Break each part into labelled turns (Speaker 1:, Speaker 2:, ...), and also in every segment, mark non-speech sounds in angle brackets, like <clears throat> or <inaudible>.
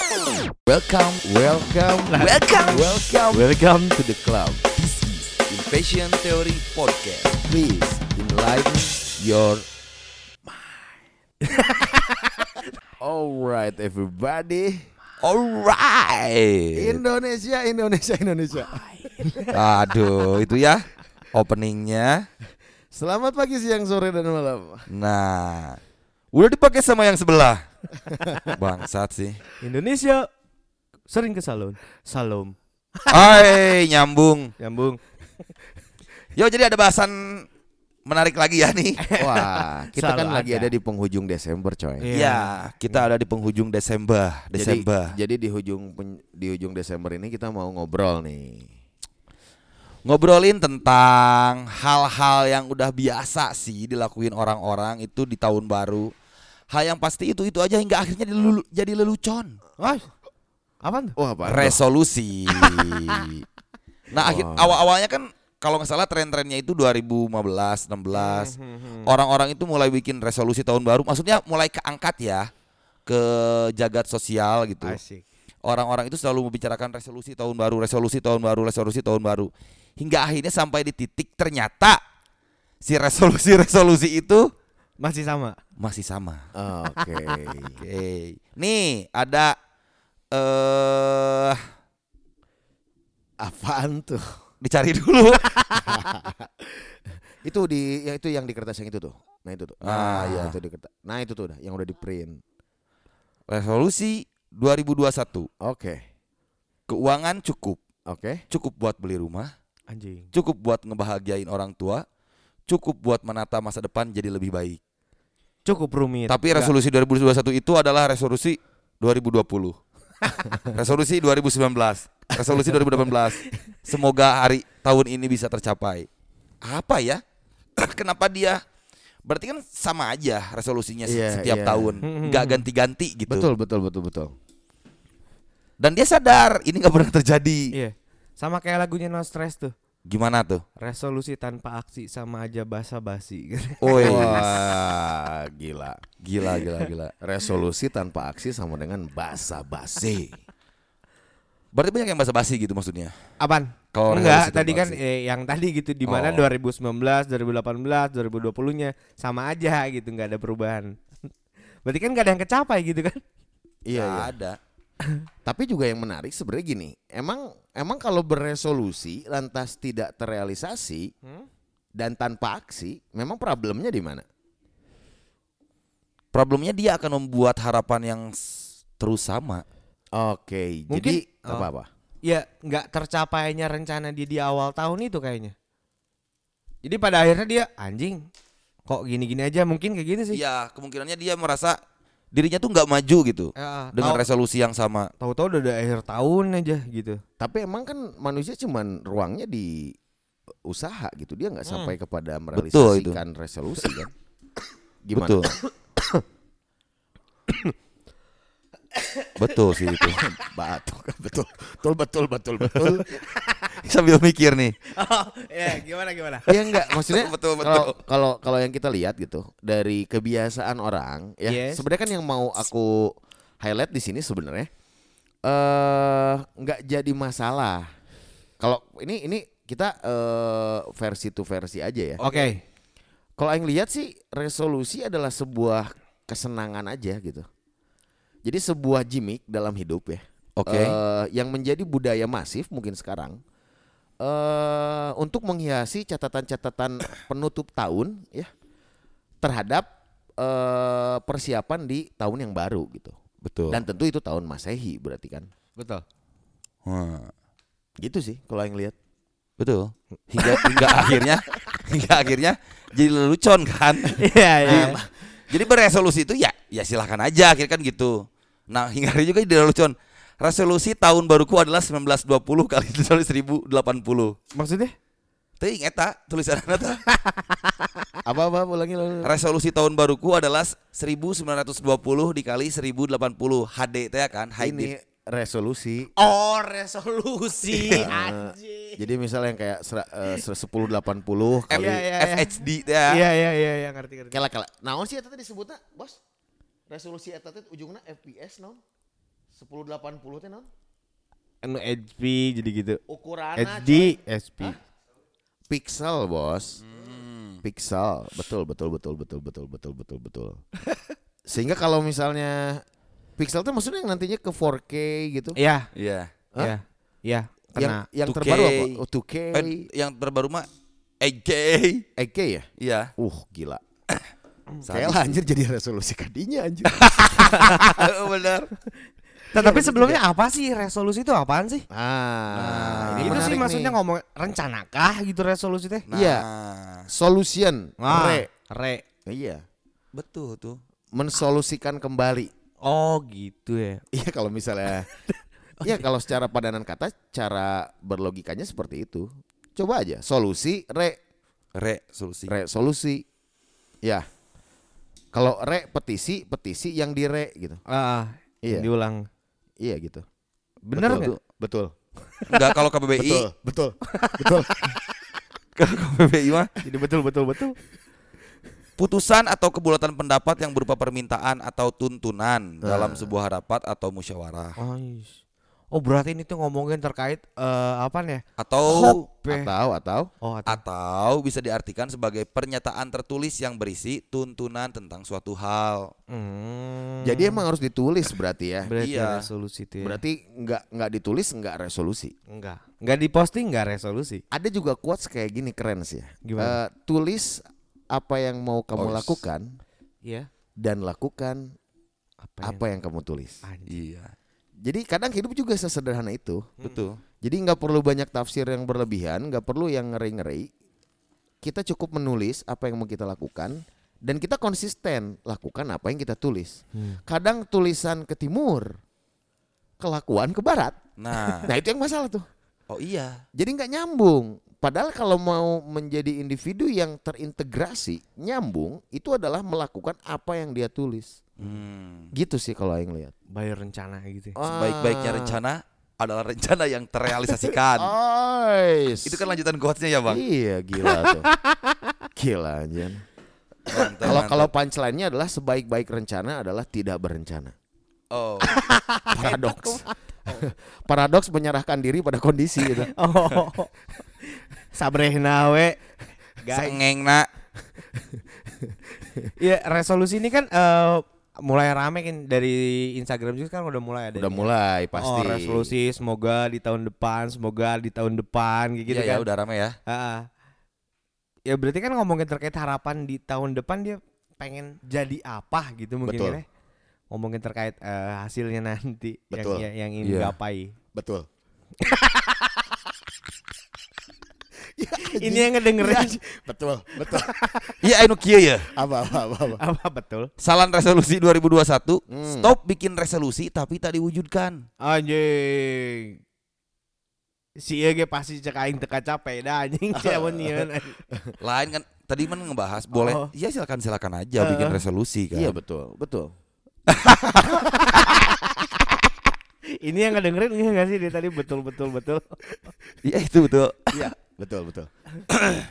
Speaker 1: Welcome, welcome, welcome, welcome, welcome to the club. This is Invasion Theory Podcast. Please enlighten your mind.
Speaker 2: <laughs>
Speaker 1: Alright everybody,
Speaker 2: Alright.
Speaker 1: Indonesia, Indonesia, Indonesia.
Speaker 2: Aduh, itu ya openingnya.
Speaker 1: Selamat pagi, siang, sore, dan malam.
Speaker 2: Nah, udah dipakai sama yang sebelah. Bangsat sih.
Speaker 3: Indonesia sering ke salon. Salom.
Speaker 2: Hai, nyambung.
Speaker 3: Nyambung.
Speaker 2: Yo, jadi ada bahasan menarik lagi ya nih.
Speaker 1: Wah, kita kan
Speaker 3: Selalu
Speaker 1: lagi
Speaker 3: ada.
Speaker 1: ada di penghujung Desember, coy.
Speaker 3: Iya.
Speaker 2: Ya, kita ada di penghujung Desember. Desember.
Speaker 1: Jadi, jadi di hujung pen- di hujung Desember ini kita mau ngobrol nih.
Speaker 2: Ngobrolin tentang hal-hal yang udah biasa sih dilakuin orang-orang itu di tahun baru. Hal yang pasti itu itu aja hingga akhirnya dilulu- jadi lelucon.
Speaker 3: Wah. Apaan tuh?
Speaker 1: Wah, Oh, apa?
Speaker 2: resolusi. nah, akhir awal-awalnya kan kalau nggak salah tren-trennya itu 2015, 16.
Speaker 3: Hmm,
Speaker 2: Orang-orang itu mulai bikin resolusi tahun baru, maksudnya mulai keangkat ya ke jagat sosial gitu.
Speaker 3: Asik.
Speaker 2: Orang-orang itu selalu membicarakan resolusi tahun baru, resolusi tahun baru, resolusi tahun baru. Hingga akhirnya sampai di titik ternyata si resolusi-resolusi itu
Speaker 3: Masih sama.
Speaker 2: masih sama.
Speaker 1: Oke.
Speaker 2: Oke. Nih, ada eh
Speaker 1: <laughs> Apaan tuh?
Speaker 2: dicari dulu. <laughs>
Speaker 1: Itu di ya itu yang di kertas yang itu tuh. Nah, itu tuh.
Speaker 2: Ah.
Speaker 1: Nah, ya itu di kertas. Nah, itu tuh udah yang udah di-print.
Speaker 2: Resolusi 2021
Speaker 1: Oke.
Speaker 2: Keuangan cukup
Speaker 1: Oke.
Speaker 2: Cukup buat beli rumah
Speaker 3: Anjing.
Speaker 2: Cukup buat ngebahagiain orang tua Cukup buat menata masa depan jadi lebih baik
Speaker 3: Cukup
Speaker 1: Gitu.
Speaker 3: rumit.
Speaker 2: Tapi resolusi 2021 itu adalah resolusi
Speaker 1: <laughs>
Speaker 2: 2020 Resolusi 2019 Resolusi 2018 Semoga hari tahun ini bisa tercapai Apa ya? <clears throat> Kenapa dia Berarti kan sama aja resolusinya se-
Speaker 1: Iya,
Speaker 2: setiap
Speaker 1: iya.
Speaker 2: tahun Nggak ganti-ganti gitu
Speaker 1: Betul, betul, betul, betul.
Speaker 2: Dan dia sadar ini nggak pernah terjadi
Speaker 3: Iya. Sama kayak lagunya No Stress tuh.
Speaker 2: Gimana tuh?
Speaker 3: Resolusi tanpa aksi sama aja basa-basi.
Speaker 2: Oh
Speaker 1: <laughs> Wah, gila.
Speaker 2: Gila, gila, gila.
Speaker 1: Resolusi tanpa aksi sama dengan basa-basi.
Speaker 2: Berarti banyak yang basa-basi gitu maksudnya.
Speaker 3: <laughs> Apaan?
Speaker 2: Kalau
Speaker 3: Enggak,
Speaker 2: resolusi
Speaker 3: tadi
Speaker 2: tanpa
Speaker 3: kan
Speaker 2: aksi.
Speaker 3: eh, yang tadi gitu di mana
Speaker 2: Oh.
Speaker 3: 2019, 2018, 2020-nya sama aja gitu, nggak ada perubahan. Berarti kan nggak ada yang kecapai gitu kan?
Speaker 1: Iya,
Speaker 2: Nggak
Speaker 1: iya.
Speaker 2: ada.
Speaker 1: Tapi juga yang menarik sebenarnya gini, emang emang kalau beresolusi lantas tidak terrealisasi dan tanpa aksi, memang problemnya di mana?
Speaker 2: Problemnya dia akan membuat harapan yang s- terus sama.
Speaker 1: Oke, jadi
Speaker 3: Mungkin- oh.
Speaker 1: apa apa?
Speaker 3: ya nggak tercapainya rencana dia di awal tahun itu kayaknya. Jadi pada akhirnya dia anjing kok gini-gini aja mungkin kayak gitu sih.
Speaker 2: Iya, kemungkinannya dia merasa dirinya tuh nggak maju gitu
Speaker 3: Ya,
Speaker 2: dengan
Speaker 3: tau-
Speaker 2: resolusi yang sama.
Speaker 3: tahu-tahu udah, udah akhir tahun aja gitu.
Speaker 1: Tapi emang kan manusia cuman ruangnya di usaha gitu, dia nggak sampai kepada merealisasikan resolusi kan? Gimana?
Speaker 2: Betul. <coughs> betul sih itu.
Speaker 1: <coughs> Batuk, betul, betul, betul, betul, betul.
Speaker 2: <coughs> Sambil mikir nih.
Speaker 3: <laughs> Oh, ya gimana gimana?
Speaker 1: Iya enggak, maksudnya
Speaker 2: <laughs> Betul, betul.
Speaker 1: kalau kalau kalau yang kita lihat gitu dari kebiasaan orang ya.
Speaker 3: Yes.
Speaker 1: Sebenarnya kan yang mau aku highlight di sini sebenarnya eh nggak jadi masalah. Kalau ini ini kita eh versi to versi aja ya.
Speaker 3: Oke.
Speaker 1: Kalau yang lihat sih resolusi adalah sebuah kesenangan aja gitu. Jadi sebuah gimmick dalam hidup ya.
Speaker 2: Oke.
Speaker 1: Eh, yang menjadi budaya masif mungkin sekarang eh untuk menghiasi catatan-catatan <coughs> penutup tahun ya terhadap eh persiapan di tahun yang baru gitu.
Speaker 2: Betul.
Speaker 1: Dan tentu itu tahun Masehi berarti kan.
Speaker 3: Betul.
Speaker 2: Hmm.
Speaker 1: Gitu sih kalau yang lihat.
Speaker 2: Betul. <coughs> Hingga hingga akhirnya hingga akhirnya jadi lelucon <coughs> kan.
Speaker 3: Iya, iya.
Speaker 2: Jadi beresolusi itu ya ya silahkan aja akhirnya kan gitu. Nah hingga hari juga jadi lelucon. Resolusi tahun baruku adalah 1920 kali tulis 1080.
Speaker 3: Maksudnya?
Speaker 2: Teuing eta tulisan eta.
Speaker 1: Apa apa ulangi ulangi.
Speaker 2: Resolusi tahun baruku adalah 1920 dikali 1080 HD itu ya kan high
Speaker 1: ini
Speaker 2: def.
Speaker 1: resolusi.
Speaker 3: Oh, resolusi Iya, anjing.
Speaker 1: Jadi misalnya yang kayak sera- eh, ser- 1080 kali
Speaker 3: Iya, iya, iya.
Speaker 2: FHD itu ya.
Speaker 3: Iya, iya, iya, iya, ngerti ngerti.
Speaker 1: Kela kela. Naon sih eta teh disebutna, Bos? Resolusi eta teh ujungna FPS naon? 1080 teh naon?
Speaker 3: Anu HP jadi gitu.
Speaker 1: Ukuranna
Speaker 3: HD, SP.
Speaker 1: Eh, pixel, Bos.
Speaker 3: Hmm.
Speaker 1: Pixel. Betul, betul, betul, betul, betul, betul, betul, betul. <laughs> Sehingga kalau misalnya pixel tuh maksudnya yang nantinya ke 4K gitu.
Speaker 3: Iya,
Speaker 2: Iya.
Speaker 3: iya. Iya,
Speaker 1: yang
Speaker 3: kena.
Speaker 1: yang
Speaker 2: 2K.
Speaker 1: terbaru apa? Oh, 2K.
Speaker 2: Eh, yang terbaru mah 8K.
Speaker 1: 8K ya?
Speaker 2: Iya.
Speaker 1: Uh, gila. Kayak lah anjir jadi resolusi kadinya anjir.
Speaker 2: Benar.
Speaker 3: Tapi sebelumnya apa sih resolusi itu apaan sih? Nah,
Speaker 1: Ah,
Speaker 3: itu sih
Speaker 1: menarik
Speaker 3: maksudnya
Speaker 1: nih.
Speaker 3: ngomong rencanakah gitu resolusi teh?
Speaker 2: Nah,
Speaker 1: Iya. solution.
Speaker 3: Wah,
Speaker 1: Re.
Speaker 3: re.
Speaker 1: Iya.
Speaker 2: Betul tuh.
Speaker 1: Mensolusikan kembali. <laughs>
Speaker 3: Oh gitu ya.
Speaker 1: Iya
Speaker 3: <laughs>
Speaker 1: kalau misalnya Iya kalau secara padanan kata cara berlogikanya seperti itu. Coba aja solusi re
Speaker 2: Resolusi.
Speaker 1: re solusi. Ya. Kalau re petisi, petisi yang di re gitu.
Speaker 3: Ah,
Speaker 1: Iya.
Speaker 3: diulang.
Speaker 1: Iya gitu.
Speaker 3: Bener
Speaker 1: betul,
Speaker 3: nggak?
Speaker 1: betul.
Speaker 2: Enggak kalau KBBI,
Speaker 1: Betul, betul. Betul.
Speaker 2: <laughs> kalau KBBI mah
Speaker 3: Jadi betul betul betul.
Speaker 2: putusan atau kebulatan pendapat yang berupa permintaan atau tuntunan dalam sebuah rapat atau musyawarah
Speaker 3: Oh, is. oh berarti ini tuh ngomongin terkait eh apa nih? ya.
Speaker 2: atau
Speaker 1: Atau atau
Speaker 3: Oh, atau.
Speaker 2: atau bisa diartikan sebagai pernyataan tertulis yang berisi tuntunan tentang suatu hal.
Speaker 3: Hmm.
Speaker 1: jadi emang harus ditulis berarti ya.
Speaker 3: berarti
Speaker 2: iya.
Speaker 3: resolusi itu. ya.
Speaker 1: Berarti nggak nggak ditulis nggak resolusi.
Speaker 3: enggak. Enggak diposting enggak resolusi.
Speaker 1: Ada juga quotes kayak gini keren sih ya.
Speaker 3: Gimana?
Speaker 1: Eh, tulis apa yang mau kamu
Speaker 2: Ois.
Speaker 1: lakukan
Speaker 3: Iya.
Speaker 1: dan lakukan
Speaker 3: Apa?
Speaker 1: apa yang kamu tulis.
Speaker 3: Anjing.
Speaker 2: Iya,
Speaker 1: Jadi kadang hidup juga sesederhana itu.
Speaker 2: betul.
Speaker 1: Jadi nggak perlu banyak tafsir yang berlebihan, nggak perlu yang ngeri-ngeri. Kita cukup menulis apa yang mau kita lakukan dan kita konsisten lakukan apa yang kita tulis.
Speaker 3: Hmm,
Speaker 1: Kadang tulisan ke timur, kelakuan ke barat.
Speaker 2: Nah,
Speaker 1: <laughs> Nah itu yang masalah tuh.
Speaker 2: oh iya,
Speaker 1: Jadi nggak nyambung. Padahal kalau mau menjadi individu yang terintegrasi, nyambung itu adalah melakukan apa yang dia tulis.
Speaker 2: Hmm.
Speaker 1: Gitu sih kalau yang lihat.
Speaker 3: Bayar rencana gitu.
Speaker 1: Ah.
Speaker 3: ya.
Speaker 2: sebaik-baiknya rencana adalah rencana yang terrealisasikan.
Speaker 1: Ois.
Speaker 2: Itu kan lanjutan quotesnya ya bang.
Speaker 1: Oh. Iya gila tuh. gila anjir.
Speaker 2: Mantap,
Speaker 1: Kalau
Speaker 2: mantap.
Speaker 1: kalau punchline-nya adalah sebaik-baik rencana adalah tidak berencana.
Speaker 2: oh,
Speaker 1: Paradoks. <laughs> Paradoks menyerahkan diri pada kondisi gitu.
Speaker 3: Oh. <laughs> Sabrehna we. Guys.
Speaker 2: sengeng nak.
Speaker 3: Iya, resolusi ini kan eh, mulai rame kan dari Instagram juga kan udah mulai ada.
Speaker 1: Udah
Speaker 3: nih.
Speaker 1: mulai
Speaker 3: Oh,
Speaker 1: pasti.
Speaker 3: resolusi semoga di tahun depan, semoga di tahun depan kayak gitu
Speaker 2: Iya, ya
Speaker 3: kan.
Speaker 2: udah rame ya.
Speaker 3: Heeh. Ya berarti kan ngomongin terkait harapan di tahun depan dia pengen jadi apa gitu mungkin
Speaker 1: Betul.
Speaker 3: ya. Ngomongin terkait eh, hasilnya nanti
Speaker 1: Betul.
Speaker 3: yang yang, yang
Speaker 2: Iya.
Speaker 3: ingin
Speaker 1: <laughs>
Speaker 3: gapai.
Speaker 1: Betul.
Speaker 3: Ini yang ngedengerin
Speaker 1: Betul, <laughs> betul.
Speaker 2: Iya, anu kieu ya.
Speaker 1: Apa apa apa. apa.
Speaker 3: <laughs> apa betul?
Speaker 2: Salan resolusi 2021,
Speaker 1: Hmm.
Speaker 2: stop bikin resolusi tapi tak diwujudkan.
Speaker 3: Anjing. Si ieu ge pasti cek aing teu capek dah
Speaker 1: <laughs>
Speaker 3: anjing sia mun nyieun.
Speaker 2: Lain kan tadi kan ngebahas boleh.
Speaker 3: Oh.
Speaker 2: Iya, silakan silakan aja bikin resolusi kan.
Speaker 1: Iya betul, betul.
Speaker 3: Ini yang ngedengerin enggak enggak sih dia tadi betul betul betul.
Speaker 2: Iya, itu betul.
Speaker 1: Iya, betul, betul. <coughs>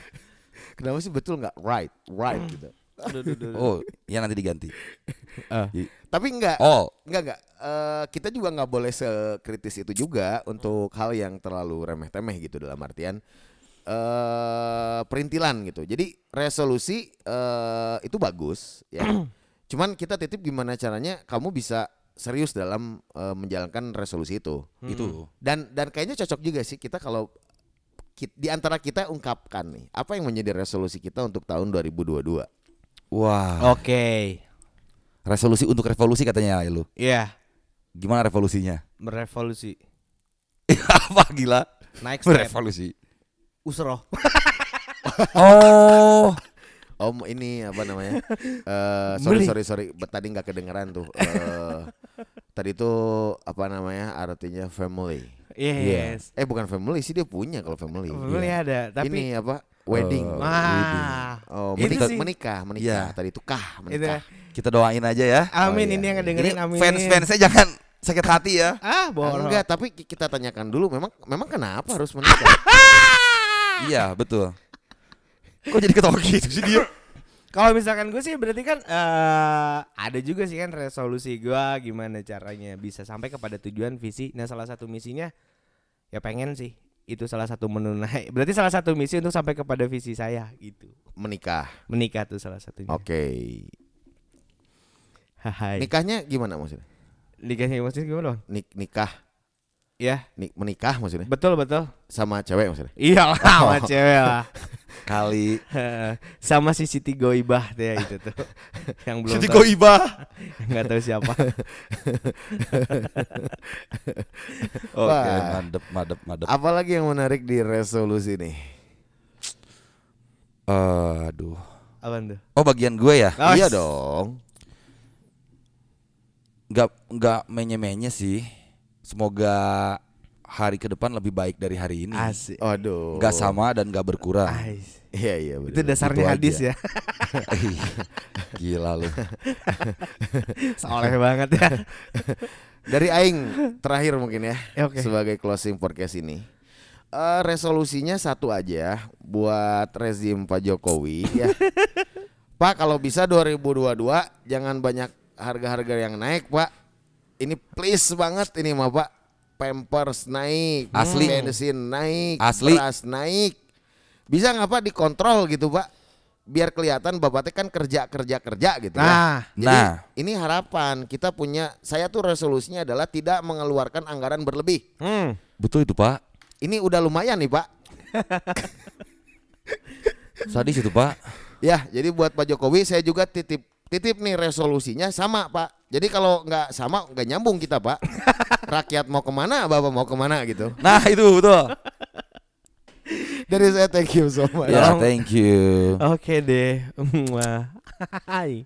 Speaker 1: Kenapa sih betul nggak right, right gitu.
Speaker 3: Aduh, aduh, aduh.
Speaker 2: Oh, ya nanti diganti.
Speaker 1: Tapi enggak
Speaker 2: Oh,
Speaker 1: Enggak enggak. Eh, kita juga nggak boleh sekritis itu juga untuk hal yang terlalu remeh-temeh gitu dalam artian eh perintilan gitu. Jadi resolusi eh itu bagus <coughs> ya. Cuman kita titip gimana caranya kamu bisa serius dalam eh, menjalankan resolusi itu.
Speaker 3: Hmm.
Speaker 2: itu.
Speaker 1: Dan dan kayaknya cocok juga sih kita kalau ki- di antara kita ungkapkan nih apa yang menjadi resolusi kita untuk tahun 2022.
Speaker 2: Wah,
Speaker 3: Oke.
Speaker 2: resolusi untuk revolusi katanya ya, lu.
Speaker 3: Iya,
Speaker 2: Gimana revolusinya? <laughs>
Speaker 3: merevolusi.
Speaker 2: Apa gila?
Speaker 3: Naik step.
Speaker 2: Merevolusi.
Speaker 3: Usroh.
Speaker 1: <laughs>
Speaker 2: Oh,
Speaker 1: Om ini apa
Speaker 3: <laughs>
Speaker 1: namanya? Eh sorry
Speaker 3: Beli.
Speaker 1: sorry sorry, Be- tadi nggak kedengeran tuh. Eh tadi tuh apa namanya? Artinya family.
Speaker 3: Yes.
Speaker 1: Eh bukan family sih dia punya kalau family.
Speaker 3: Beli
Speaker 1: Iya.
Speaker 3: ada, tapi
Speaker 1: ini apa? Wedding.
Speaker 2: Oh.
Speaker 3: wah.
Speaker 1: Oh,
Speaker 3: Itu
Speaker 1: menikah,
Speaker 3: sih.
Speaker 1: menikah, menikah.
Speaker 2: Iya.
Speaker 1: Tadi tuh kah
Speaker 3: Itu. ya.
Speaker 1: menikah.
Speaker 2: kita doain aja ya.
Speaker 3: Amin
Speaker 1: Oh, iya,
Speaker 3: ini yang
Speaker 1: iya.
Speaker 3: ngedengerin amin.
Speaker 2: fans-fansnya jangan sakit hati ya.
Speaker 3: Ah, bohong.
Speaker 1: Enggak, tapi ki- kita tanyakan dulu memang memang kenapa
Speaker 3: <laughs>
Speaker 1: harus menikah?
Speaker 2: Iya, betul. Kok jadi ketawa gitu sih dia?
Speaker 3: Kalau misalkan gue sih berarti kan eh ada juga sih kan resolusi gue gimana caranya bisa sampai kepada tujuan visi. Nah salah satu misinya ya pengen sih itu salah satu menunai. Berarti salah satu misi untuk sampai kepada visi saya gitu.
Speaker 1: menikah.
Speaker 3: Menikah tuh salah satunya.
Speaker 1: Oke.
Speaker 3: Hai.
Speaker 1: Nikahnya gimana maksudnya?
Speaker 3: Nikahnya maksudnya gimana bang?
Speaker 1: Nik nikah,
Speaker 3: Ya
Speaker 1: Ni- menikah maksudnya?
Speaker 3: betul betul.
Speaker 1: Sama cewek maksudnya?
Speaker 3: Iya <laughs> lah sama cewek lah. <laughs>
Speaker 2: Kali
Speaker 3: Eh, sama si Siti Goibah deh itu <laughs> tuh. Yang belum
Speaker 2: Siti
Speaker 3: tahu-
Speaker 2: Koibah
Speaker 3: nggak tahu siapa.
Speaker 2: Oke
Speaker 1: Wah.
Speaker 2: madep madep madep
Speaker 1: Apalagi yang menarik di resolusi nih?
Speaker 2: Eh, Aduh
Speaker 3: <laughs> Apaan tuh?
Speaker 2: Oh bagian gue ya
Speaker 3: Oh,
Speaker 1: iya
Speaker 3: s-
Speaker 1: dong.
Speaker 2: nggak nggak menye-menye sih. Semoga hari ke depan lebih baik dari hari ini.
Speaker 3: Asik.
Speaker 1: Aduh.
Speaker 2: Nggak sama dan nggak berkurang.
Speaker 3: <laughs> Ais.
Speaker 1: Iya iya.
Speaker 3: Nah, Itu
Speaker 1: bener.
Speaker 2: itu
Speaker 3: dasarnya hadis
Speaker 2: aja.
Speaker 3: ya. <laughs>
Speaker 2: Iya. Gila lu.
Speaker 3: Soleh banget ya.
Speaker 1: Dari Aing terakhir mungkin ya
Speaker 3: Ya, oke.
Speaker 1: sebagai closing podcast ini. Eh, resolusinya satu aja buat rezim Pak Jokowi
Speaker 3: <laughs>
Speaker 1: ya. Pak kalau bisa 2022 jangan banyak harga-harga yang naik Pak. Ini please banget ini mah Pak. Pampers naik,
Speaker 2: Asli.
Speaker 1: bensin naik,
Speaker 2: Asli.
Speaker 1: beras naik. Bisa nggak Pak dikontrol gitu Pak? Biar kelihatan Bapak teh kan kerja kerja kerja gitu ya.
Speaker 3: Nah,
Speaker 1: Jadi
Speaker 2: Nah.
Speaker 1: ini harapan kita punya saya tuh resolusinya adalah tidak mengeluarkan anggaran berlebih.
Speaker 3: hmm.
Speaker 2: Betul itu Pak.
Speaker 1: Ini udah lumayan nih Pak.
Speaker 2: Sadis itu Pak.
Speaker 1: Ya jadi buat Pak Jokowi saya juga titip titip nih resolusinya sama Pak. Jadi kalau nggak sama nggak nyambung kita
Speaker 2: <laughs>
Speaker 1: Pak. Rakyat mau kemana Bapak mau kemana gitu.
Speaker 2: Nah itu betul.
Speaker 1: Jadi saya thank you so much.
Speaker 2: Ya
Speaker 3: Tolong.
Speaker 2: thank you.
Speaker 3: Oke deh. Mwah. <laughs> Hai.